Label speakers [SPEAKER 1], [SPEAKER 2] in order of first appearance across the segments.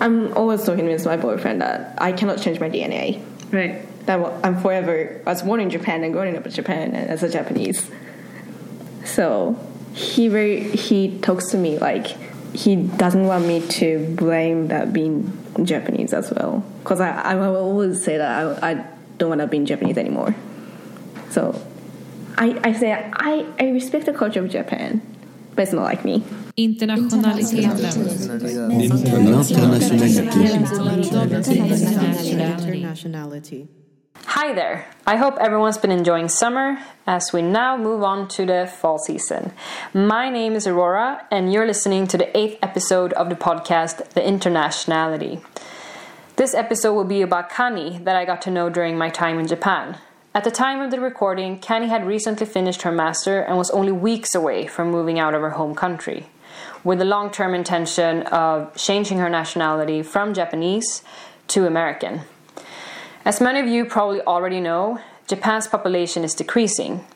[SPEAKER 1] I'm always talking to my boyfriend that I cannot change my DNA.
[SPEAKER 2] Right.
[SPEAKER 1] That wa- I'm forever. I was born in Japan and growing up in Japan and as a Japanese. So he very he talks to me like he doesn't want me to blame that being Japanese as well because I I will always say that I I don't want to be in Japanese anymore. So I I say I I respect the culture of Japan, but it's not like me.
[SPEAKER 3] Internationaliteten.
[SPEAKER 4] Internationality.
[SPEAKER 5] Hi there! I hope everyone's been enjoying summer as we now move on to the fall season. My name is Aurora, and you're listening to the eighth episode of the podcast, The Internationality. This episode will be about Kani that I got to know during my time in Japan. At the time of the recording, Kani had recently finished her master and was only weeks away from moving out of her home country, with the long term intention of changing her nationality from Japanese to American. As many of you probably already know, Japan's population is decreasing.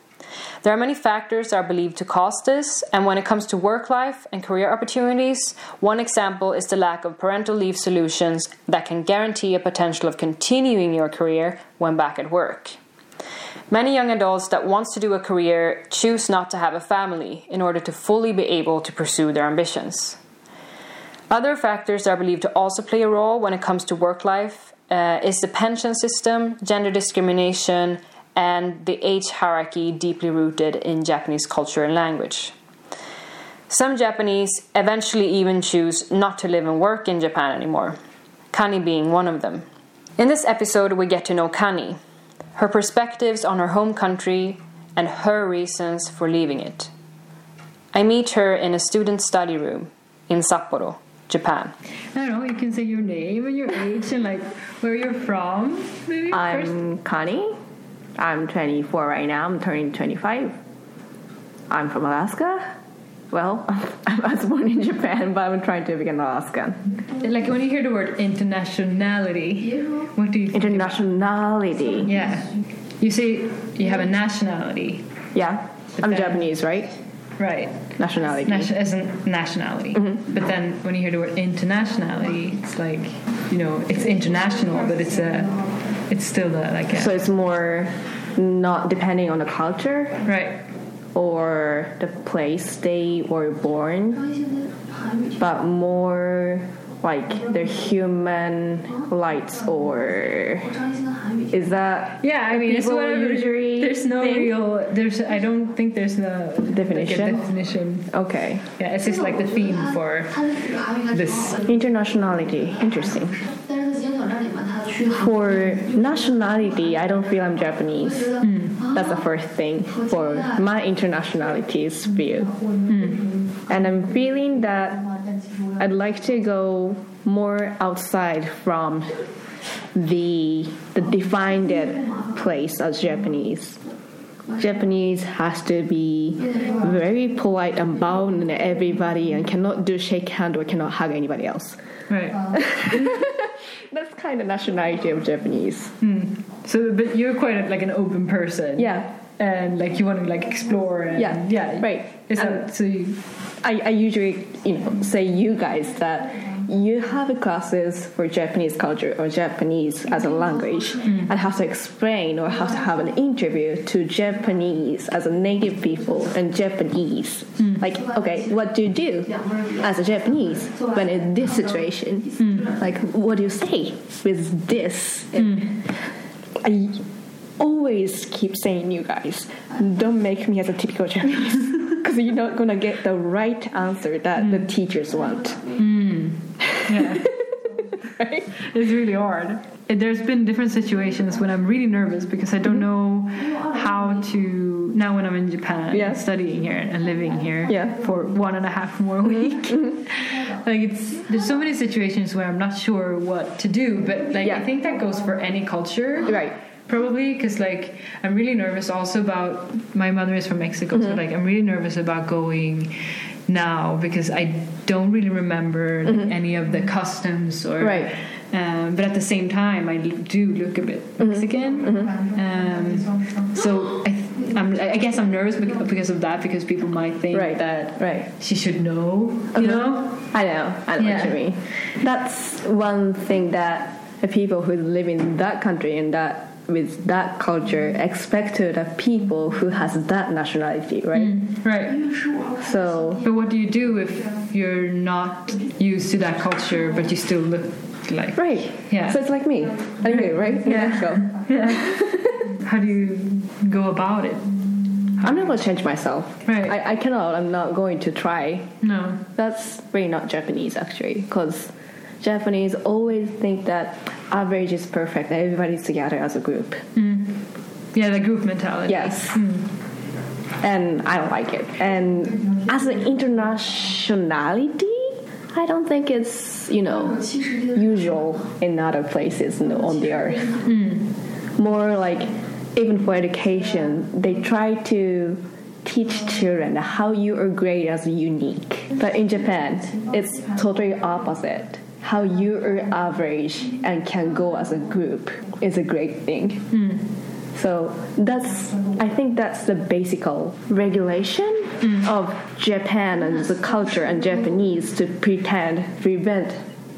[SPEAKER 5] There are many factors that are believed to cause this, and when it comes to work life and career opportunities, one example is the lack of parental leave solutions that can guarantee a potential of continuing your career when back at work. Many young adults that wants to do a career choose not to have a family in order to fully be able to pursue their ambitions. Other factors that are believed to also play a role when it comes to work life uh, is the pension system, gender discrimination, and the age hierarchy deeply rooted in Japanese culture and language. Some Japanese eventually even choose not to live and work in Japan anymore, Kani being one of them. In this episode, we get to know Kani, her perspectives on her home country, and her reasons for leaving it. I meet her in a student study room in Sapporo, Japan.
[SPEAKER 2] I don't know. You can say your name and your age and like where you're from. Maybe first.
[SPEAKER 1] I'm Connie. I'm 24 right now. I'm turning 25. I'm from Alaska. Well, I was born in Japan, but I'm trying to become Alaskan.
[SPEAKER 2] Like when you hear the word internationality, what do you think?
[SPEAKER 1] Internationality.
[SPEAKER 2] yeah. You say you have a nationality,
[SPEAKER 1] Yeah. I'm
[SPEAKER 2] Okay.
[SPEAKER 1] Japanese, right?
[SPEAKER 2] right?
[SPEAKER 1] Nationality.
[SPEAKER 2] Nation as a nationality.
[SPEAKER 1] Mm-hmm.
[SPEAKER 2] But then when you hear the word internationality, it's like you know it's international, but it's a it's still the like a,
[SPEAKER 1] so it's more not depending on the culture
[SPEAKER 2] right.
[SPEAKER 1] or the place they were born, but more like their human rights or is that
[SPEAKER 2] Yeah, I mean, it's
[SPEAKER 1] people
[SPEAKER 2] whatever.
[SPEAKER 1] usually
[SPEAKER 2] There's no
[SPEAKER 1] think-
[SPEAKER 2] real. There's. I don't think there's no like, a
[SPEAKER 1] Definition?
[SPEAKER 2] definition.
[SPEAKER 1] okay?
[SPEAKER 2] Yeah, it's just like the theme for this.
[SPEAKER 1] Internationality, interesting. For nationality, I don't feel I'm Japanese.
[SPEAKER 2] hmm,
[SPEAKER 1] That's the first thing for my internationality's view.
[SPEAKER 2] Hmm.
[SPEAKER 1] And I'm feeling that I'd like to go more outside from the the defined place as Japanese. Japanese has to be very polite and bow to everybody and cannot do shake hand or cannot hug anybody else.
[SPEAKER 2] Right.
[SPEAKER 1] That's kind of nationality of Japanese.
[SPEAKER 2] So, but you're quite a, like an open person.
[SPEAKER 1] Yeah.
[SPEAKER 2] And like you want to like explore. And,
[SPEAKER 1] Yeah,
[SPEAKER 2] Yeah.
[SPEAKER 1] right.
[SPEAKER 2] Is
[SPEAKER 1] Um,
[SPEAKER 2] that so? You,
[SPEAKER 1] I, I usually you know say you guys that you have classes for Japanese culture or Japanese as a language
[SPEAKER 2] Mm.
[SPEAKER 1] and have to explain or have to have an interview to Japanese as a native people and Japanese.
[SPEAKER 2] Mm.
[SPEAKER 1] Like, okay, what do you do as a Japanese when in this situation?
[SPEAKER 2] Mm.
[SPEAKER 1] Like, what do you say with this? I always keep saying you guys don't make me as a typical Japanese because you're not gonna get the right answer that the teachers want.
[SPEAKER 2] yeah.
[SPEAKER 1] Right?
[SPEAKER 2] it's really hard. And There's been different situations when I'm really nervous because I
[SPEAKER 1] Mm-hmm.
[SPEAKER 2] don't know how to. Now, when I'm in Japan,
[SPEAKER 1] Yeah.
[SPEAKER 2] studying here and living here
[SPEAKER 1] Yeah. Mm-hmm.
[SPEAKER 2] for one and a half more week, like it's there's so many situations where I'm not sure what to do. But like
[SPEAKER 1] Yeah.
[SPEAKER 2] I think that goes for any culture,
[SPEAKER 1] Right.
[SPEAKER 2] Probably because like I'm really nervous also about my mother is from Mexico,
[SPEAKER 1] Mm-hmm.
[SPEAKER 2] so like I'm really nervous about going now because I don't really remember like, any of the customs or
[SPEAKER 1] Mm-hmm. Right.
[SPEAKER 2] um, but at the
[SPEAKER 1] Mm-hmm.
[SPEAKER 2] same time, I l- do look a bit Mexican. Um, so I th- I'm, I guess I'm nervous bec- because of that because people might think
[SPEAKER 1] Right.
[SPEAKER 2] that
[SPEAKER 1] Right. Uh-huh.
[SPEAKER 2] she should know, you know.
[SPEAKER 1] I know, I know what you
[SPEAKER 2] Yeah.
[SPEAKER 1] mean. That's one thing that the people who live in that country and that with that culture expect to the people who has that nationality, right?
[SPEAKER 2] Right.
[SPEAKER 1] So
[SPEAKER 2] But what do you do if you're not used to that culture but you still look like?
[SPEAKER 1] right,
[SPEAKER 2] Yeah.
[SPEAKER 1] So it's like me, anyway, right? Yeah.
[SPEAKER 2] How do you go about it?
[SPEAKER 1] I'm not gonna change myself.
[SPEAKER 2] Right.
[SPEAKER 1] I, I cannot. I'm not going to try.
[SPEAKER 2] No.
[SPEAKER 1] That's really not Japanese actually, because Japanese always think that average is perfect. and Everybody's together as a group.
[SPEAKER 2] Yeah, the group mentality.
[SPEAKER 1] Yes. And I don't like it. And as an internationality, I don't think it's, you know, usual in other places in the- on the earth. More like, even for education, they try to teach children how you are great as unique. But in Japan, it's totally opposite. How you are average and can go as a group is a great thing. So that's I think that's the basic regulation of Japan and the culture and Japanese to pretend prevent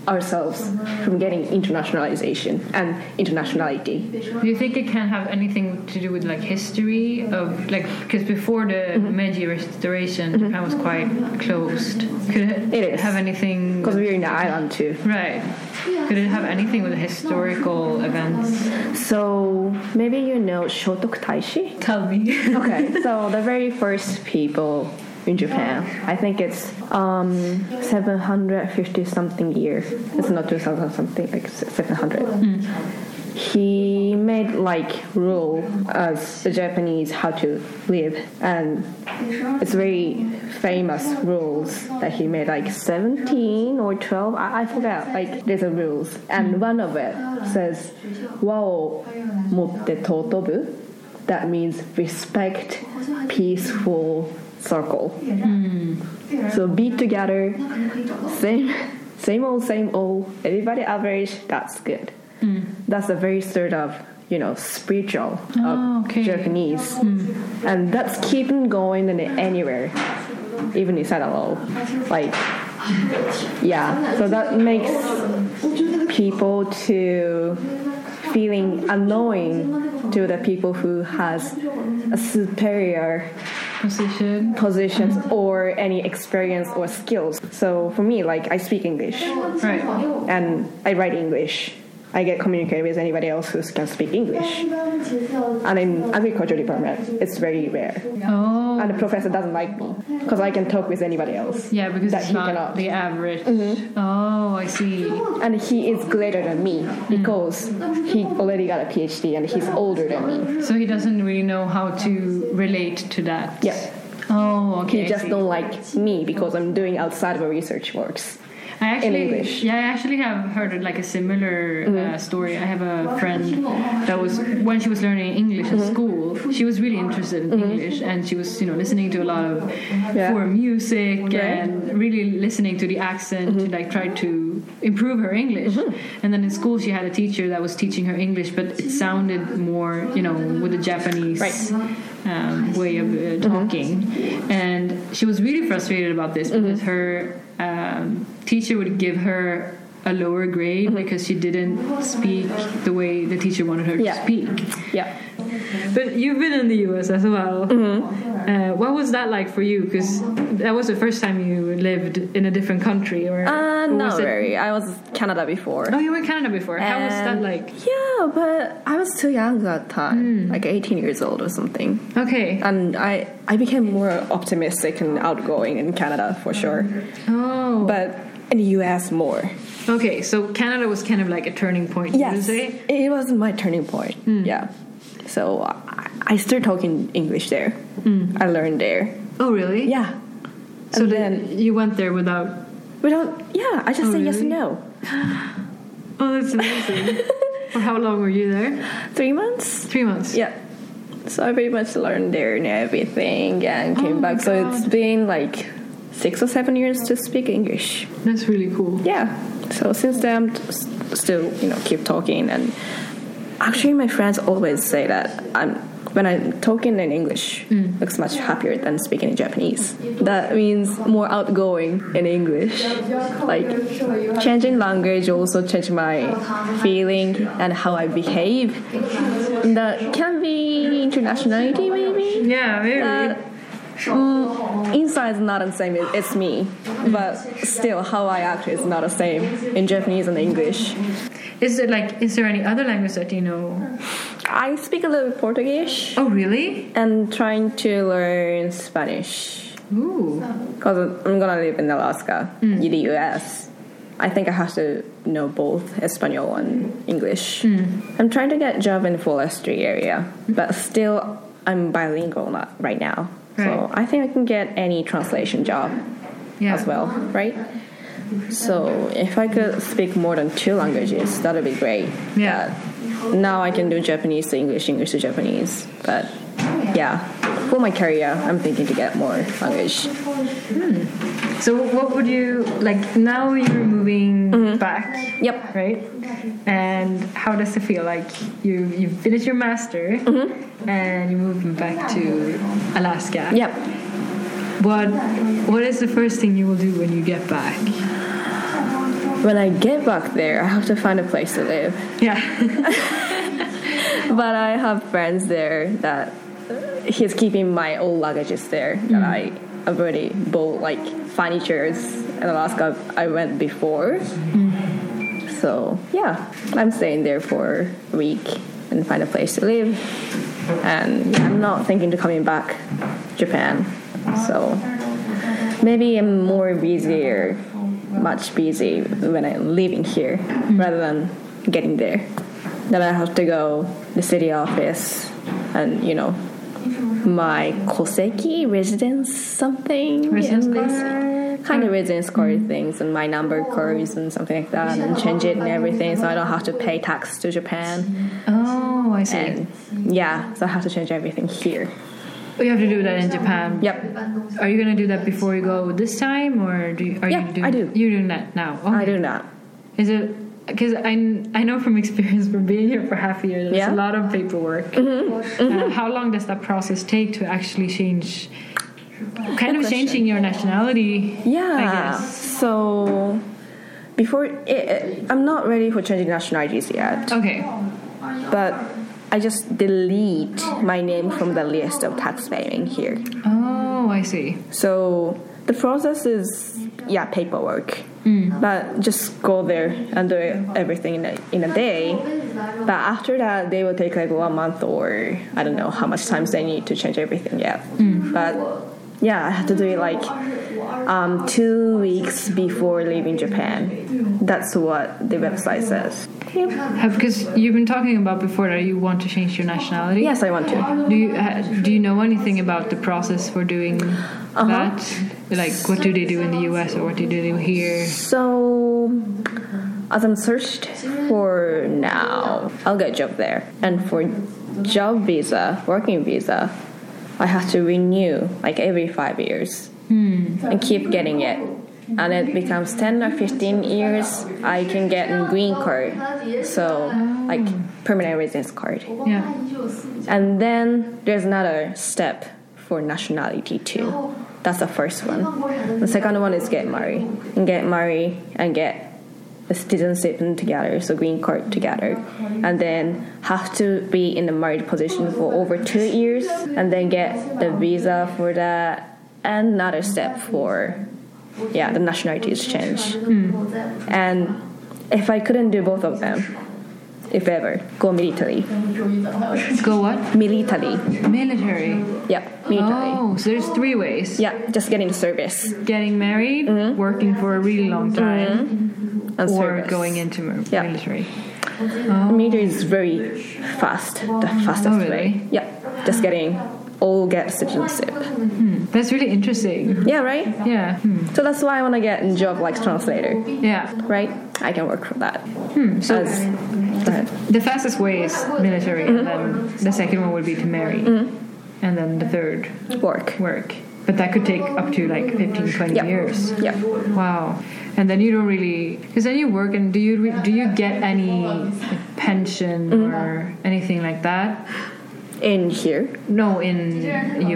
[SPEAKER 1] ourselves from getting internationalization and internationality.
[SPEAKER 2] Do you think it can have anything to do with like history of like because before the
[SPEAKER 1] Mm-hmm.
[SPEAKER 2] Meiji Restoration, Japan was quite closed. Could it,
[SPEAKER 1] It is.
[SPEAKER 2] have anything?
[SPEAKER 1] Because we're in the island too.
[SPEAKER 2] right. Could it have anything with historical events?
[SPEAKER 1] So maybe you know Shotoku Taishi?
[SPEAKER 2] Tell me.
[SPEAKER 1] okay, so the very first people in Japan, I think it's um, 750 something year. It's not 2000 something, like s- 700. He made like rule as the Japanese how to live, and it's very famous rules that he made, like 17 or 12. I, I forgot. Like there's a rules, and one of it says, "Wow, motte totobu." that means respect, peaceful circle.
[SPEAKER 2] hmm,
[SPEAKER 1] So be together, same, same old, same old. Everybody average. That's good.
[SPEAKER 2] Mm.
[SPEAKER 1] That's a very sort of you know spiritual
[SPEAKER 2] Oh,
[SPEAKER 1] of
[SPEAKER 2] okay. Mm.
[SPEAKER 1] Japanese, and that's keeping going in anywhere, even in Sadalo. Like, yeah. So that makes people to feeling annoying to the people who has a superior
[SPEAKER 2] Position.
[SPEAKER 1] positions or any experience or skills. So for me, like I speak English
[SPEAKER 2] Right.
[SPEAKER 1] and I write English. I get communicated with anybody else who can speak English. And in agriculture department, it's very rare.
[SPEAKER 2] Oh.
[SPEAKER 1] And the professor doesn't like me because I can talk with anybody else.
[SPEAKER 2] Yeah, because
[SPEAKER 1] that
[SPEAKER 2] it's
[SPEAKER 1] he
[SPEAKER 2] not
[SPEAKER 1] cannot. Mm-hmm.
[SPEAKER 2] the average. Oh, I see.
[SPEAKER 1] and he is greater than me because he already got a PhD and he's older than me.
[SPEAKER 2] So he doesn't really know how to relate to that.
[SPEAKER 1] Yeah.
[SPEAKER 2] Oh, okay.
[SPEAKER 1] He
[SPEAKER 2] I
[SPEAKER 1] just
[SPEAKER 2] see.
[SPEAKER 1] don't like me because I'm doing outside of my research works.
[SPEAKER 2] I actually,
[SPEAKER 1] English. Mm-hmm.
[SPEAKER 2] Yeah, I actually have heard like a similar uh, story. I have a friend that was when she was learning English
[SPEAKER 1] Mm-hmm.
[SPEAKER 2] at school, she was really interested in English, and she was you know listening to a lot of
[SPEAKER 1] Yeah.
[SPEAKER 2] foreign music and really listening to the accent to
[SPEAKER 1] Mm-hmm.
[SPEAKER 2] like try to improve her English. And then in school, she had a teacher that was teaching her English, but it sounded more you know with a Japanese um, way of
[SPEAKER 1] Mm-hmm.
[SPEAKER 2] uh, talking. And she was really frustrated about this
[SPEAKER 1] Mm-hmm.
[SPEAKER 2] because her um, teacher would give her a lower grade
[SPEAKER 1] Mm-hmm.
[SPEAKER 2] because she didn't speak the way the teacher wanted her
[SPEAKER 1] Yeah.
[SPEAKER 2] to speak.
[SPEAKER 1] Yeah.
[SPEAKER 2] But you've been in the US as well.
[SPEAKER 1] Mm-hmm.
[SPEAKER 2] Uh, what was that like for you? Because that was the first time you lived in a different country, or,
[SPEAKER 1] Uh,
[SPEAKER 2] or
[SPEAKER 1] not
[SPEAKER 2] was it-
[SPEAKER 1] very. I was Canada before.
[SPEAKER 2] Oh, you were in Canada before. How was that
[SPEAKER 1] And-
[SPEAKER 2] like?
[SPEAKER 1] Yeah, but I was too young at that
[SPEAKER 2] Hmm.
[SPEAKER 1] time, like 18 years old or something.
[SPEAKER 2] Okay.
[SPEAKER 1] And I, I became more optimistic and outgoing in Canada for sure,
[SPEAKER 2] Oh.
[SPEAKER 1] but in the US more.
[SPEAKER 2] okay. So Canada was kind of like a turning point. You would
[SPEAKER 1] Yes,
[SPEAKER 2] say?
[SPEAKER 1] it was my turning point.
[SPEAKER 2] Mm.
[SPEAKER 1] Yeah, so I, I started talking English there. I learned there.
[SPEAKER 2] Oh, really?
[SPEAKER 1] Yeah,
[SPEAKER 2] Mm. So
[SPEAKER 1] and
[SPEAKER 2] then, you went there without.
[SPEAKER 1] we don't. Yeah, I just
[SPEAKER 2] Oh,
[SPEAKER 1] say yes and
[SPEAKER 2] really?
[SPEAKER 1] no.
[SPEAKER 2] Oh, that's amazing. For how long were you there?
[SPEAKER 1] Three months.
[SPEAKER 2] Three months.
[SPEAKER 1] Yeah. So I pretty much learned there and everything and
[SPEAKER 2] Oh
[SPEAKER 1] came
[SPEAKER 2] my
[SPEAKER 1] back. So it's
[SPEAKER 2] God.
[SPEAKER 1] been like six or seven years to speak English.
[SPEAKER 2] That's really cool.
[SPEAKER 1] Yeah. So since then, I'm t- s- still, you know, keep talking and actually, my friends always say that I'm when I'm talking in English, looks much happier than speaking in Japanese. That means more outgoing in English. Like changing language also change my feeling and how I behave. That can be internationality, maybe.
[SPEAKER 2] Yeah, maybe.
[SPEAKER 1] Uh, mm, inside is not the same. it- It's me, but still, how I act is not the same in Japanese and English.
[SPEAKER 2] is it like? Is there any other language that you know?
[SPEAKER 1] I speak a little bit Portuguese
[SPEAKER 2] Oh, really?
[SPEAKER 1] and trying to learn Spanish
[SPEAKER 2] Ooh.
[SPEAKER 1] because I'm gonna live in Alaska,
[SPEAKER 2] Mm.
[SPEAKER 1] in the US. I think I have to know both Espanol and English.
[SPEAKER 2] Mm.
[SPEAKER 1] I'm trying to get job in the forestry area,
[SPEAKER 2] Mm-hmm.
[SPEAKER 1] but still I'm bilingual not right now.
[SPEAKER 2] Right.
[SPEAKER 1] So I think I can get any translation job
[SPEAKER 2] Yeah.
[SPEAKER 1] as well, right? So if I could speak more than two languages, that would be great.
[SPEAKER 2] Yeah.
[SPEAKER 1] But now I can do Japanese to English, English to Japanese. But
[SPEAKER 2] Oh,
[SPEAKER 1] yeah, for my career, I'm thinking to get more language.
[SPEAKER 2] So what would you like now you're moving back?
[SPEAKER 1] Mm-hmm. Yep.
[SPEAKER 2] Right? And how does it feel like you you finished your master
[SPEAKER 1] Mm-hmm.
[SPEAKER 2] and you're moving back to Alaska?
[SPEAKER 1] Yep.
[SPEAKER 2] What what is the first thing you will do when you get back?
[SPEAKER 1] When I get back there, I have to find a place to live.
[SPEAKER 2] Yeah.
[SPEAKER 1] But I have friends there that he's keeping my old luggages there that I have already bought like furnitures in Alaska I went before. So yeah, I'm staying there for a week and find a place to live. And yeah, I'm not thinking to coming back Japan. So maybe I'm more busier, much busy when I'm leaving here
[SPEAKER 2] Hmm.
[SPEAKER 1] rather than getting there. Then I have to go the city office and you know my koseki residence something
[SPEAKER 2] Residence
[SPEAKER 1] and this
[SPEAKER 2] card? Hmm.
[SPEAKER 1] kind of residence card things and my number cards and something like that and change it and everything so I don't have to pay tax to Japan
[SPEAKER 2] oh, I see.
[SPEAKER 1] and yeah so I have to change everything here
[SPEAKER 2] you have to do that in Japan.
[SPEAKER 1] yep
[SPEAKER 2] Are you gonna do that before you go this time, or do you, are
[SPEAKER 1] Yeah,
[SPEAKER 2] you doing?
[SPEAKER 1] I do.
[SPEAKER 2] You're doing that now. Okay.
[SPEAKER 1] I do not
[SPEAKER 2] Is it because I, I know from experience from being here for half a year, there's
[SPEAKER 1] Yeah. Mm-hmm.
[SPEAKER 2] a lot of paperwork. Uh, how long does that process take to actually change? Kind of changing your nationality.
[SPEAKER 1] Yeah.
[SPEAKER 2] I guess.
[SPEAKER 1] So before it, it, I'm not ready for changing nationalities yet,
[SPEAKER 2] Okay.
[SPEAKER 1] but I just delete my name from the list of tax paying here.
[SPEAKER 2] Oh, I see.
[SPEAKER 1] So the process is yeah paperwork, but just go there and do everything in a, in a day. But after that, they will take like one month or I don't know how much times they need to change everything yet. But yeah, I had to do it like um, two weeks before leaving Japan. That's what the website says.
[SPEAKER 2] Because you've been talking about before that you want to change your nationality.
[SPEAKER 1] Yes, I want to.
[SPEAKER 2] Do you uh, do you know anything about the process for doing
[SPEAKER 1] Uh-huh.
[SPEAKER 2] that? Like, what do they do in the U.S. or what do they do here?
[SPEAKER 1] So, as I'm searched for now, I'll get a job there. And for job visa, working visa, I have to renew like every five years and keep getting it. And it becomes 10 or 15 years, I can get a green card. So, like permanent residence card.
[SPEAKER 2] Yeah.
[SPEAKER 1] And then there's another step for nationality too. That's the first one. The second one is get married. And get married and get a citizenship and together, so green card together. And then have to be in the married position for over two years and then get the visa for that. And another step for yeah, the nationality is changed. And if I couldn't do both of them, if ever, go military.
[SPEAKER 2] Go what?
[SPEAKER 1] Military.
[SPEAKER 2] Military.
[SPEAKER 1] Yeah, military.
[SPEAKER 2] Oh, so there's three ways.
[SPEAKER 1] Yeah, just getting service
[SPEAKER 2] Getting married, working for a really long time,
[SPEAKER 1] Mm-hmm. and
[SPEAKER 2] or
[SPEAKER 1] service.
[SPEAKER 2] going into mi-
[SPEAKER 1] Yeah.
[SPEAKER 2] military.
[SPEAKER 1] Military is very fast, the fastest
[SPEAKER 2] Oh, really?
[SPEAKER 1] way. Yeah, just getting all get citizenship.
[SPEAKER 2] That's really interesting.
[SPEAKER 1] Yeah, right.
[SPEAKER 2] Yeah. Hmm.
[SPEAKER 1] So that's why I want to get a job like translator,
[SPEAKER 2] Yeah.
[SPEAKER 1] right? I can work for that.
[SPEAKER 2] Hmm, So
[SPEAKER 1] As- go ahead.
[SPEAKER 2] the fastest way is military,
[SPEAKER 1] Mm-hmm.
[SPEAKER 2] and then the second one would be to marry, and then the third
[SPEAKER 1] work.
[SPEAKER 2] work. But that could take up to like 15, 20
[SPEAKER 1] Yeah.
[SPEAKER 2] years.
[SPEAKER 1] Yeah.
[SPEAKER 2] Wow. And then you don't really, because then you work and do you re, do you get any like, pension
[SPEAKER 1] Mm-hmm.
[SPEAKER 2] or anything like that.
[SPEAKER 1] in here.
[SPEAKER 2] No, in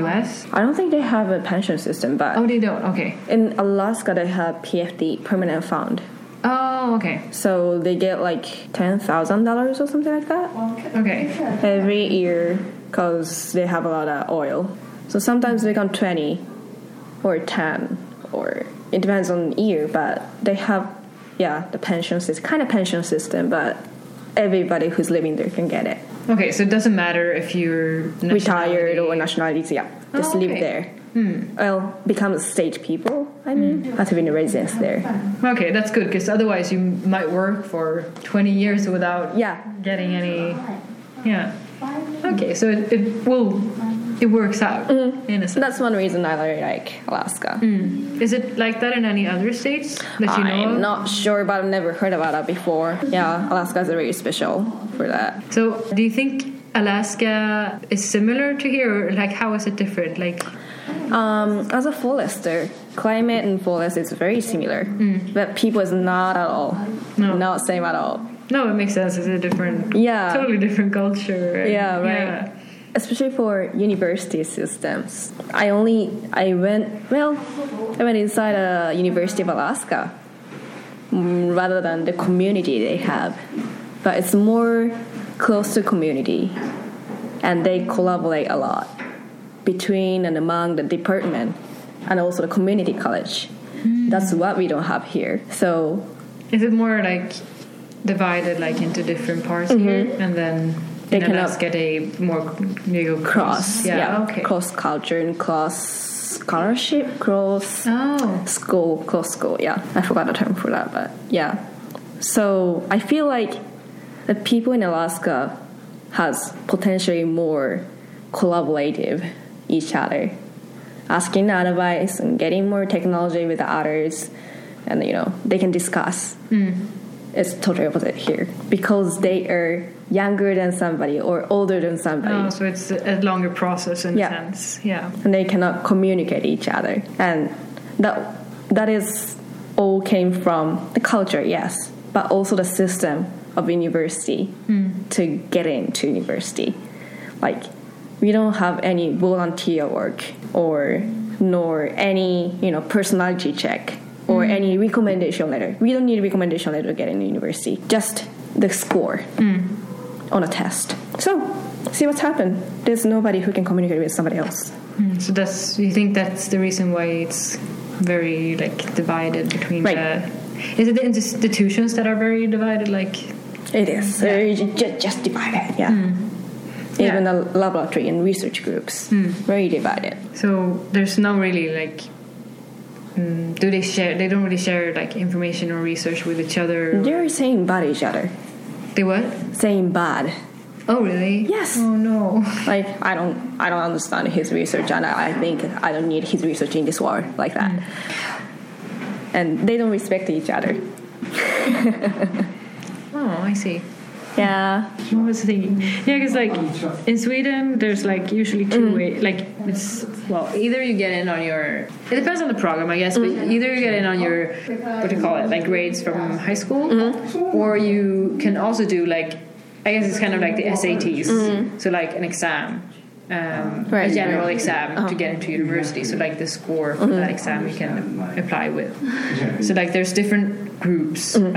[SPEAKER 2] US.
[SPEAKER 1] I don't think they have a pension system, but
[SPEAKER 2] Oh, they don't. Okay.
[SPEAKER 1] in Alaska they have PFD permanent fund.
[SPEAKER 2] Oh, okay.
[SPEAKER 1] So they get like ten thousand dollars or something like that.
[SPEAKER 2] Okay.
[SPEAKER 1] every year because they have a lot of oil. So sometimes they come 20 or 10 or it depends on year, but they have yeah the pension system kind of pension system, but everybody who's living there can get it,
[SPEAKER 2] Okay. So it doesn't matter if you're
[SPEAKER 1] retired
[SPEAKER 2] nationality-
[SPEAKER 1] or nationalities. Yeah, just
[SPEAKER 2] Oh,
[SPEAKER 1] live
[SPEAKER 2] okay. Hmm.
[SPEAKER 1] there. Well, become state people. I mean, have to be in residence there.
[SPEAKER 2] Okay, that's good because otherwise you might work for 20 years without
[SPEAKER 1] Yeah.
[SPEAKER 2] getting any. Yeah. Okay, so it, it will it works out in a
[SPEAKER 1] So
[SPEAKER 2] sense.
[SPEAKER 1] that's one reason I really like Alaska. Mm-hmm.
[SPEAKER 2] Is it like that in any other states that Hmm. you know?
[SPEAKER 1] I'm
[SPEAKER 2] of?
[SPEAKER 1] not sure, but I've never heard about it before. Yeah, Alaska is really special for that.
[SPEAKER 2] So do you think Alaska is similar to here, or like how is it different? Like
[SPEAKER 1] Um, as a forester, climate and forest is very similar, but people is not at all,
[SPEAKER 2] Hmm. No.
[SPEAKER 1] not same at all.
[SPEAKER 2] no, it makes sense. It's a different,
[SPEAKER 1] Yeah.
[SPEAKER 2] totally different culture. and-
[SPEAKER 1] Yeah, right. Especially for university systems. I only I went well, I went inside a University of Alaska mm, rather than the community they have, but it's more close to community, and they collaborate a lot between and among the department and also the community college. That's what we don't have here. So
[SPEAKER 2] Is it more like divided like into different parts here, and then
[SPEAKER 1] Mm-hmm. They
[SPEAKER 2] in
[SPEAKER 1] cannot-
[SPEAKER 2] Alaska they more they go
[SPEAKER 1] cross,
[SPEAKER 2] Yeah,
[SPEAKER 1] yeah,
[SPEAKER 2] okay.
[SPEAKER 1] cross culture and cross scholarship, cross
[SPEAKER 2] Oh,
[SPEAKER 1] school, close school. Yeah, I forgot the term for that, but yeah. So I feel like the people in Alaska has potentially more collaborative each other, asking advice and getting more technology with the others, and you know they can discuss. It's totally opposite here because they are younger than somebody or older than somebody
[SPEAKER 2] oh, so it's a longer process in
[SPEAKER 1] Yeah.
[SPEAKER 2] a sense. Yeah.
[SPEAKER 1] and they cannot communicate each other and that that is all came from the culture yes but also the system of university to get into university like we don't have any volunteer work or nor any you know personality check or any recommendation letter we don't need a recommendation letter to get into university just the score on a test so see what's happened there's nobody who can communicate with somebody else
[SPEAKER 2] Mm, So that's you think that's the reason why it's very like divided between
[SPEAKER 1] Right.
[SPEAKER 2] the. Is it the institutions that are very divided? Like
[SPEAKER 1] It is. Uh, you ju- just divided, yeah. Even
[SPEAKER 2] Yeah.
[SPEAKER 1] the laboratory and research groups, very divided.
[SPEAKER 2] so, there's no really like. mm, Do they share? They don't really share like information or research with each other.
[SPEAKER 1] They're saying bad each other,
[SPEAKER 2] They what?
[SPEAKER 1] saying bad.
[SPEAKER 2] Oh really?
[SPEAKER 1] Yes.
[SPEAKER 2] Oh no.
[SPEAKER 1] Like I don't, I don't understand his research, and I, I think I don't need his research in this war like that. And they don't respect each other.
[SPEAKER 2] Oh, I see.
[SPEAKER 1] Yeah,
[SPEAKER 2] What was I thinking? Yeah, because like in Sweden, there's like usually two way. Like it's well, either you get in on your. It depends on the program, I guess. But either you get in on your what do you call it, like grades from high school, or you can also do like I guess it's kind of like the SATs, so like an exam. Um,
[SPEAKER 1] Right.
[SPEAKER 2] a general exam to get into university so like the score for that exam you can apply with so like there's different groups of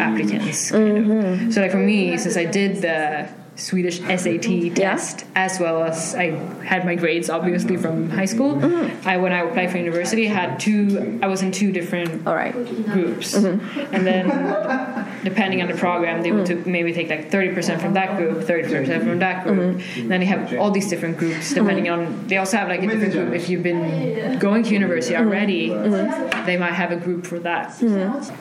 [SPEAKER 2] applicants. kind of. So like for me, since I did the Swedish SAT test as well as I had my grades obviously from high school, I when I applied for university had two. I was in two different
[SPEAKER 1] all right.
[SPEAKER 2] groups, and then depending on the program, they would took- maybe take like thirty percent from that group, thirty percent from that group. And then you have all these different groups depending on. They also have like a different group if you've been going to university already. They might have a group for that.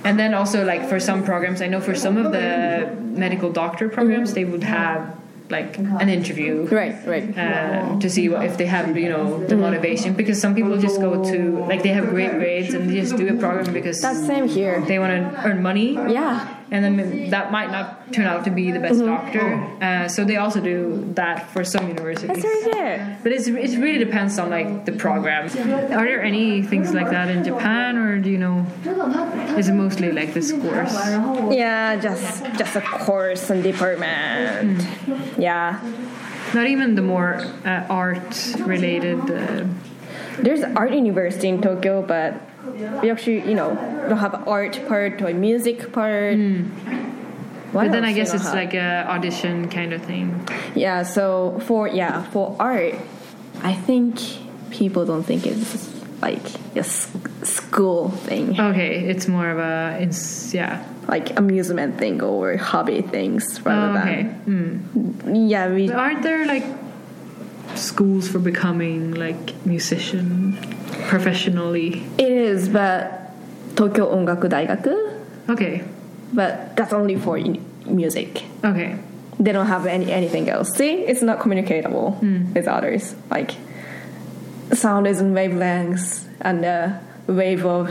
[SPEAKER 2] And then also like for some programs, I know for some of the medical doctor
[SPEAKER 1] Mm-hmm.
[SPEAKER 2] programs, they would have like an interview
[SPEAKER 1] Right, Uh-huh. right. Mm-hmm.
[SPEAKER 2] uh, to see what, if they have you know the motivation because some people just go to like they have great grades and they just do a program because
[SPEAKER 1] That's same here.
[SPEAKER 2] they want to earn money
[SPEAKER 1] Yeah, Mm-hmm.
[SPEAKER 2] and then that might not turn out to be the best doctor. Uh, so they also do that for some universities.
[SPEAKER 1] yeah.
[SPEAKER 2] But it's, it really depends on like the program. Are there any things like that in Japan, or do you know? Is it mostly like this course?
[SPEAKER 1] Yeah, just just a course and department. Yeah,
[SPEAKER 2] Not even the more uh, art-related. Uh,
[SPEAKER 1] there's art university in Tokyo, but we actually you know don't have art part or music part. What
[SPEAKER 2] Hmm. but then
[SPEAKER 1] else
[SPEAKER 2] I
[SPEAKER 1] we
[SPEAKER 2] guess
[SPEAKER 1] don't
[SPEAKER 2] it's
[SPEAKER 1] have?
[SPEAKER 2] like a audition kind of thing.
[SPEAKER 1] yeah. So for yeah for art, I think people don't think it's like a s- school thing,
[SPEAKER 2] Okay, it's more of a it's, yeah.
[SPEAKER 1] like amusement thing or hobby things rather
[SPEAKER 2] Oh, okay. Mm.
[SPEAKER 1] than yeah we
[SPEAKER 2] But aren't there like schools for becoming like musician professionally?
[SPEAKER 1] It is, but Tokyo Ongaku Daigaku,
[SPEAKER 2] Okay,
[SPEAKER 1] but that's only for in- music.
[SPEAKER 2] okay.
[SPEAKER 1] They don't have any anything else. See, it's not communicatable
[SPEAKER 2] Hmm.
[SPEAKER 1] with others. Like sound is in wavelengths and the wave of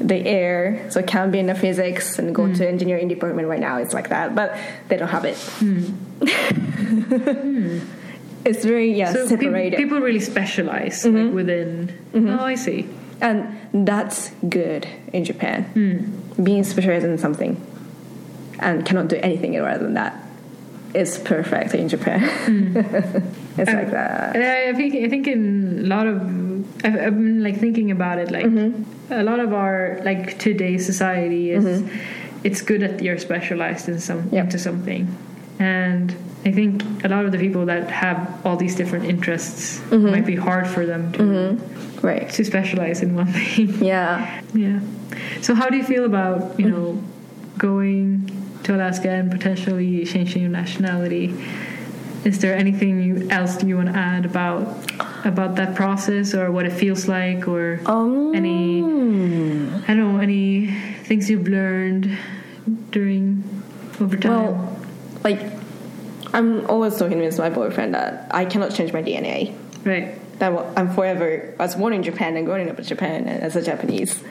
[SPEAKER 1] the air, so it can be in the physics and go
[SPEAKER 2] Hmm.
[SPEAKER 1] to engineering department right now. It's like that, but they don't have it.
[SPEAKER 2] Hmm.
[SPEAKER 1] It's very yeah
[SPEAKER 2] So peop-
[SPEAKER 1] separated. Mm-hmm.
[SPEAKER 2] people really specialize like within. Oh, I see.
[SPEAKER 1] And that's good in Japan.
[SPEAKER 2] Hmm.
[SPEAKER 1] Being specialized in something and cannot do anything rather than that is perfect in Japan.
[SPEAKER 2] Hmm. Um,
[SPEAKER 1] it's like that.
[SPEAKER 2] And I I think I think in a lot of I've, I've been like thinking about it like a lot of our like today's society is it's good that you're specialized in some
[SPEAKER 1] Yep.
[SPEAKER 2] into something, and I think a lot of the people that have all these different interests might be hard for them to
[SPEAKER 1] Right.
[SPEAKER 2] to specialize in one thing.
[SPEAKER 1] Yeah.
[SPEAKER 2] yeah. So how do you feel about you know going to Alaska and potentially changing your nationality? Is there anything you, else you want to add about about that process or what it feels like or
[SPEAKER 1] Um,
[SPEAKER 2] any I don't know any things you've learned during over time?
[SPEAKER 1] Well, like, I'm always talking with my boyfriend that I cannot change my DNA.
[SPEAKER 2] right.
[SPEAKER 1] That wa- I'm forever. I was born in Japan and growing up in Japan and as a Japanese.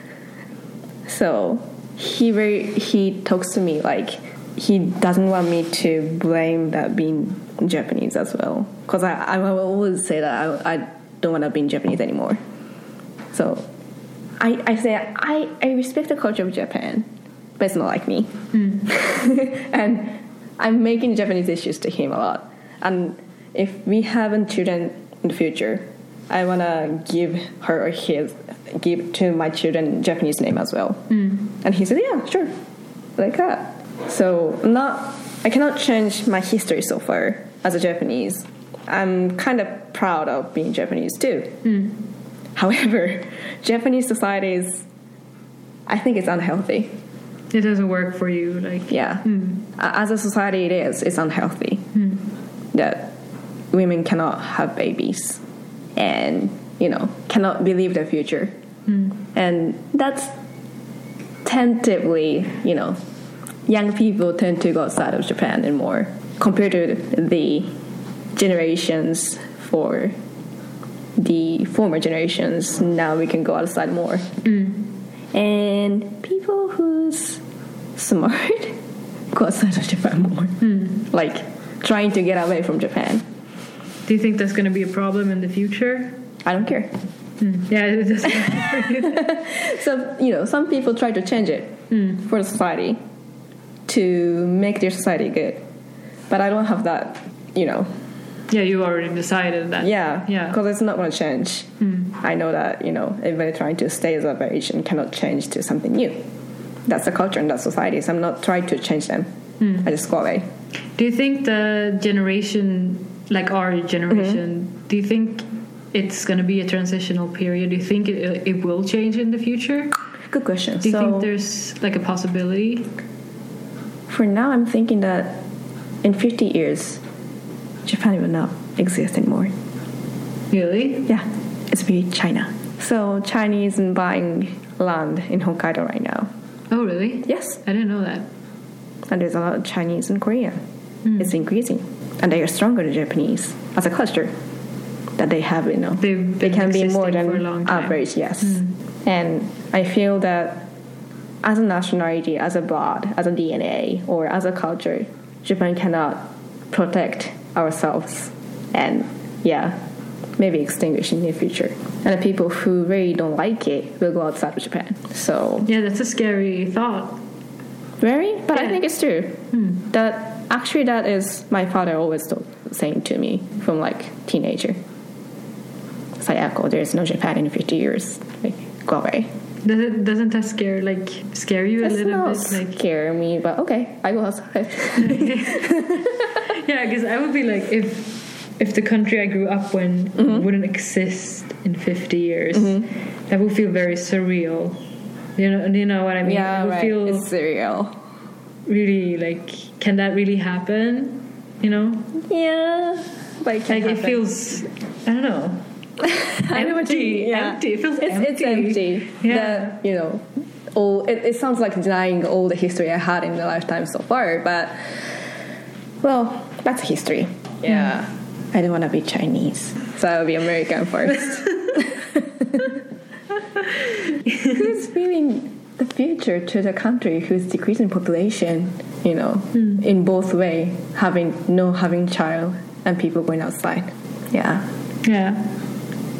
[SPEAKER 1] So he very he talks to me like he doesn't want me to blame that being Japanese as well because I I will always say that I I don't want to be Japanese anymore. So I I say I I respect the culture of Japan, but it's not like me. and I'm making Japanese issues to him a lot. And if we have children in the future, I wanna give her or his give to my children Japanese name as well. And he said, yeah, sure, like that. So not I cannot change my history so far as a Japanese. I'm kind of proud of being Japanese too. However, Japanese society is, I think it's unhealthy.
[SPEAKER 2] It doesn't work for you like
[SPEAKER 1] Yeah. A- As a society, it is. It's unhealthy that women cannot have babies and, you know, cannot believe their future. And that's tentatively, you know, young people tend to go outside of Japan and more compared to the generations for the former generations. Now we can go outside more. And people who's smart go outside of Japan more.
[SPEAKER 2] Hmm.
[SPEAKER 1] Like trying to get away from Japan.
[SPEAKER 2] do you think that's going to be a problem in the future?
[SPEAKER 1] I don't care.
[SPEAKER 2] Yeah, it doesn't
[SPEAKER 1] So you know, some people try to change it
[SPEAKER 2] Hmm.
[SPEAKER 1] for the society to make their society good. But I don't have that, you know.
[SPEAKER 2] Yeah, you already decided that.
[SPEAKER 1] Yeah,
[SPEAKER 2] Yeah. Hmm.
[SPEAKER 1] Because it's not going to change. I know that you know everybody trying to stay as a Asian cannot change to something new. That's the culture and that's society. So I'm not trying to change them.
[SPEAKER 2] Hmm.
[SPEAKER 1] I just go away.
[SPEAKER 2] Do you think the generation, like our generation, do you think it's going to be a transitional period? Do you think it, it will change in the future?
[SPEAKER 1] Good question.
[SPEAKER 2] Do you
[SPEAKER 1] so
[SPEAKER 2] think there's like a possibility?
[SPEAKER 1] for now, I'm thinking that in 50 years, Japan will not exist anymore.
[SPEAKER 2] Really?
[SPEAKER 1] Yeah, it's be China. So Chinese and buying land in Hokkaido right now.
[SPEAKER 2] Oh, really?
[SPEAKER 1] Yes,
[SPEAKER 2] I didn't know that.
[SPEAKER 1] and there's a lot of Chinese in Korea.
[SPEAKER 2] Hmm.
[SPEAKER 1] It's increasing, and they are stronger than Japanese as a culture. That they have, you know,
[SPEAKER 2] They've
[SPEAKER 1] they
[SPEAKER 2] been
[SPEAKER 1] can be more
[SPEAKER 2] existing
[SPEAKER 1] than
[SPEAKER 2] Hmm. for a long time.
[SPEAKER 1] average. Yes, and I feel that as a nationality, as a blood, as a DNA, or as a culture, Japan cannot protect ourselves and, yeah, maybe extinguish in the future. And the people who really don't like it will go outside of Japan. So,
[SPEAKER 2] Yeah, that's a scary thought.
[SPEAKER 1] very, but I
[SPEAKER 2] Yeah. Hmm.
[SPEAKER 1] think it's true. That actually, that is my father always told, saying to me from like teenager. Sayako, there is no Japan in 50 years. Like, go away.
[SPEAKER 2] Does it, doesn't that scare like scare you a
[SPEAKER 1] It's
[SPEAKER 2] little
[SPEAKER 1] not
[SPEAKER 2] bit? Like
[SPEAKER 1] scare me, but okay, I go outside.
[SPEAKER 2] yeah, because I would be like if if the country I grew up in wouldn't exist in fifty years, that would feel very surreal. You know, you know what I mean?
[SPEAKER 1] yeah,
[SPEAKER 2] it would
[SPEAKER 1] right.
[SPEAKER 2] feel
[SPEAKER 1] It's surreal.
[SPEAKER 2] really like, can that really happen? You know,
[SPEAKER 1] Yeah, but it can
[SPEAKER 2] like it
[SPEAKER 1] happen.
[SPEAKER 2] feels. I don't know.
[SPEAKER 1] I know what you
[SPEAKER 2] empty,
[SPEAKER 1] mean, yeah.
[SPEAKER 2] empty. It feels
[SPEAKER 1] it's
[SPEAKER 2] empty.
[SPEAKER 1] it's empty.
[SPEAKER 2] Yeah.
[SPEAKER 1] That, you know, all it, it sounds like denying all the history I had in my lifetime so far, but well, that's history. Yeah. I don't want to be Chinese, so I'll be American first. who's feeling the future to the country who's decreasing population, you know,
[SPEAKER 2] Hmm.
[SPEAKER 1] in both way, having no having child and people going outside. Yeah.
[SPEAKER 2] Yeah.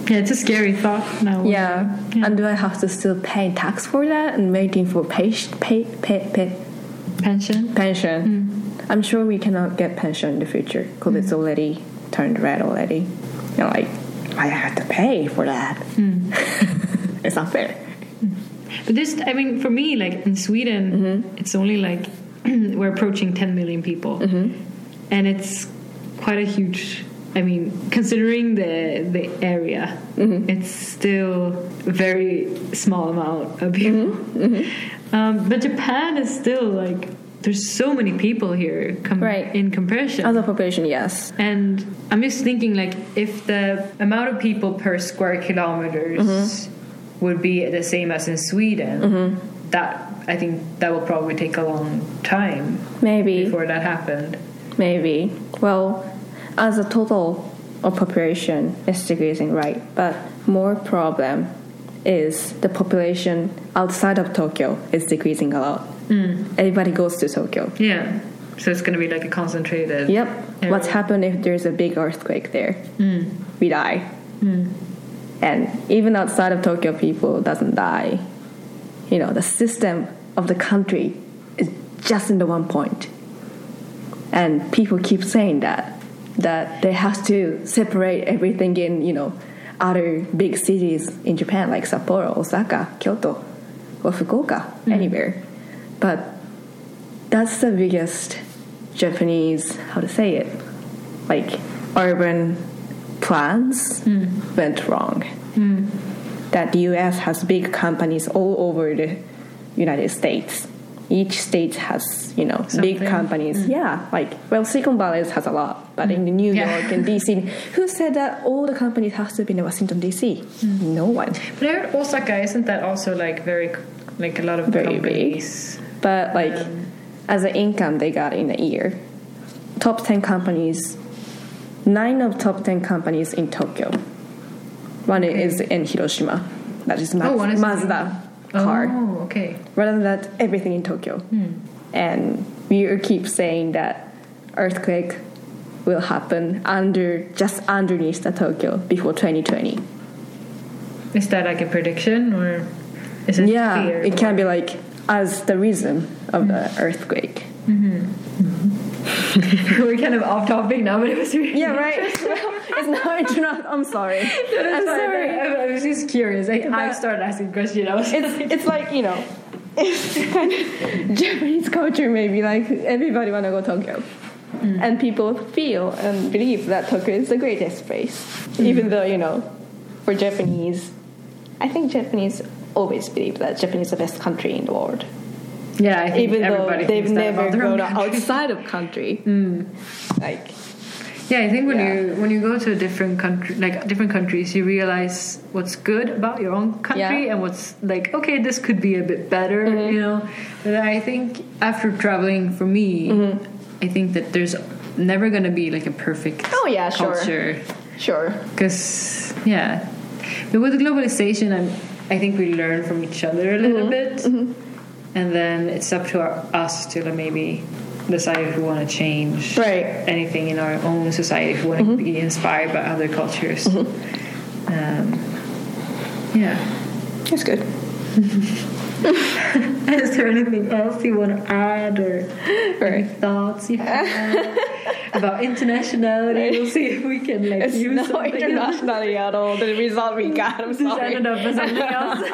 [SPEAKER 2] Yeah, it's a scary thought now.
[SPEAKER 1] Yeah. And do I have to still pay tax for that and waiting for pay, pay, pay, pay,
[SPEAKER 2] Pension.
[SPEAKER 1] pension? I'm sure we cannot get pension in the future because it's already turned red already. You're like, I have to pay for that. it's not fair.
[SPEAKER 2] But this, I mean, for me, like in Sweden,
[SPEAKER 1] Mm-hmm.
[SPEAKER 2] it's only like we're approaching 10 million people.
[SPEAKER 1] Mm-hmm.
[SPEAKER 2] And it's quite a huge, I mean, considering the, the area,
[SPEAKER 1] Mm-hmm.
[SPEAKER 2] it's still a very small amount of people.
[SPEAKER 1] Mm-hmm.
[SPEAKER 2] Um, but Japan is still like, there's so many people here com-
[SPEAKER 1] Right.
[SPEAKER 2] in comparison.
[SPEAKER 1] Other population, yes.
[SPEAKER 2] And I'm just thinking, like, if the amount of people per square kilometers
[SPEAKER 1] Mm-hmm.
[SPEAKER 2] would be the same as in Sweden, that I think that will probably take a long time
[SPEAKER 1] Maybe.
[SPEAKER 2] before that happened.
[SPEAKER 1] Maybe. Well, as a total of population is decreasing, right? But more problem is the population outside of Tokyo is decreasing a lot. Everybody goes to Tokyo.
[SPEAKER 2] Yeah. So it's going to be like a concentrated.
[SPEAKER 1] Yep.
[SPEAKER 2] area.
[SPEAKER 1] What's happened if there's a big earthquake there? We die. And even outside of Tokyo, people doesn't die. You know, the system of the country is just in the one point. And people keep saying that that they have to separate everything in you know other big cities in Japan like Sapporo, Osaka, Kyoto, or Fukuoka, anywhere. But that's the biggest Japanese how to say it like urban plans went wrong that the US has big companies all over the United States each state has you know big
[SPEAKER 2] Something.
[SPEAKER 1] companies yeah like well Silicon Valley has a lot but in New
[SPEAKER 2] Mm. Yeah.
[SPEAKER 1] York and DC who said that all the companies have to be in Washington DC
[SPEAKER 2] Mm.
[SPEAKER 1] no one
[SPEAKER 2] But I heard Osaka, isn't that also like very, like a lot of
[SPEAKER 1] Very big.
[SPEAKER 2] companies?
[SPEAKER 1] but like as an income they got in a year top 10 companies nine of top 10 companies in tokyo one is in hiroshima that is Maz-
[SPEAKER 2] Oh, one is-
[SPEAKER 1] mazda car
[SPEAKER 2] Oh, okay.
[SPEAKER 1] rather than that everything in tokyo
[SPEAKER 2] Hmm.
[SPEAKER 1] and we keep saying that earthquake will happen under just underneath the tokyo before 2020
[SPEAKER 2] Is that like a prediction or is it
[SPEAKER 1] yeah
[SPEAKER 2] fear? Hmm.
[SPEAKER 1] it can be like as the reason of the earthquake
[SPEAKER 2] We're kind of off topic now, but it was really
[SPEAKER 1] Yeah, right. Well, it's not interrupt. I'm sorry.
[SPEAKER 2] No, that's
[SPEAKER 1] I'm
[SPEAKER 2] fine.
[SPEAKER 1] sorry.
[SPEAKER 2] I, I was just curious. I, I
[SPEAKER 1] But-
[SPEAKER 2] started asking questions. I was
[SPEAKER 1] It's it's like you know, it's kind of Japanese culture maybe like everybody wanna go Tokyo,
[SPEAKER 2] Mm.
[SPEAKER 1] and people feel and believe that Tokyo is the greatest place, even
[SPEAKER 2] Mm.
[SPEAKER 1] though you know, for Japanese, I think Japanese always believe that Japan is the best country in the world,
[SPEAKER 2] yeah, I think
[SPEAKER 1] even though
[SPEAKER 2] everybody
[SPEAKER 1] they've
[SPEAKER 2] thinks that
[SPEAKER 1] never
[SPEAKER 2] about their own
[SPEAKER 1] gone
[SPEAKER 2] country. Mm.
[SPEAKER 1] outside of country. Like
[SPEAKER 2] Yeah, I think when
[SPEAKER 1] Yeah.
[SPEAKER 2] you when you go to a different country, like different countries, you realize what's good about your own country
[SPEAKER 1] Yeah. Mm-hmm.
[SPEAKER 2] and what's like okay, this could be a bit better, you know. But I think after traveling, for me,
[SPEAKER 1] Mm-hmm.
[SPEAKER 2] I think that there's never gonna be like a perfect
[SPEAKER 1] Oh, yeah, sure.
[SPEAKER 2] culture.
[SPEAKER 1] sure,
[SPEAKER 2] because yeah
[SPEAKER 1] Mm-hmm.
[SPEAKER 2] but with globalization I'm, i think we learn from each other a little bit and then it's up to our, us to like, maybe decide if we want to change
[SPEAKER 1] Right. Mm-hmm.
[SPEAKER 2] anything in our own society if we want to be inspired by other cultures. Um, yeah.
[SPEAKER 1] That's good.
[SPEAKER 2] Is there anything else you want to add or
[SPEAKER 1] Right.
[SPEAKER 2] thoughts you have about internationality? We'll see if we can like
[SPEAKER 1] It's
[SPEAKER 2] use
[SPEAKER 1] not
[SPEAKER 2] something.
[SPEAKER 1] internationally at all. The result we got. I'm
[SPEAKER 2] This ended
[SPEAKER 1] sorry.
[SPEAKER 2] up as something else.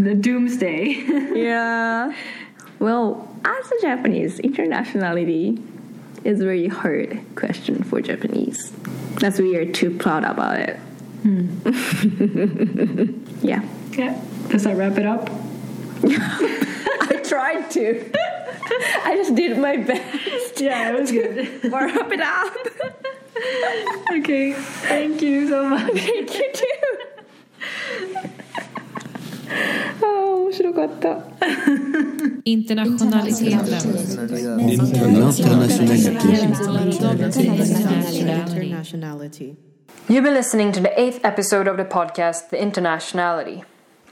[SPEAKER 2] the doomsday.
[SPEAKER 1] Yeah. Well, as a Japanese, internationality is a very hard question for Japanese. That's we are too proud about it.
[SPEAKER 2] Hmm.
[SPEAKER 1] yeah.
[SPEAKER 2] Yeah. Does that wrap it up?
[SPEAKER 1] I tried to. I just did my best.
[SPEAKER 2] Yeah, it was good.
[SPEAKER 1] Wrap it up.
[SPEAKER 2] okay. Thank you so much.
[SPEAKER 1] Thank you too.
[SPEAKER 2] Oh,
[SPEAKER 1] ああ面白かった。
[SPEAKER 3] Internationaliteten.
[SPEAKER 4] Internationality.
[SPEAKER 5] You've been listening to the eighth episode of the podcast, The Internationality.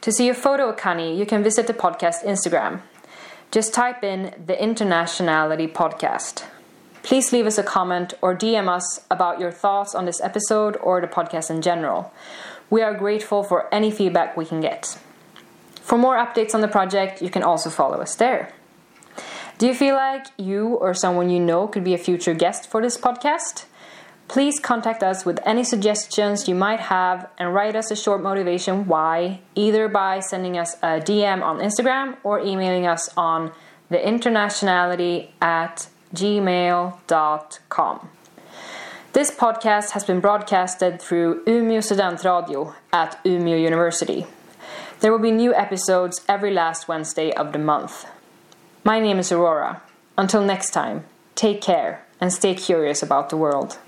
[SPEAKER 5] To see a photo of Kani, you can visit the podcast Instagram. Just type in The Internationality Podcast. Please leave us a comment or DM us about your thoughts on this episode or the podcast in general. We are grateful for any feedback we can get. For more updates on the project, you can also follow us there. Do you feel like you or someone you know could be a future guest for this podcast? Please contact us with any suggestions you might have and write us a short motivation why, either by sending us a DM on Instagram or emailing us on theinternationality at gmail.com. This podcast has been broadcasted through Umeå Studentradio at Umeå University. There will be new episodes every last Wednesday of the month. My name is Aurora. Until next time, take care and stay curious about the world.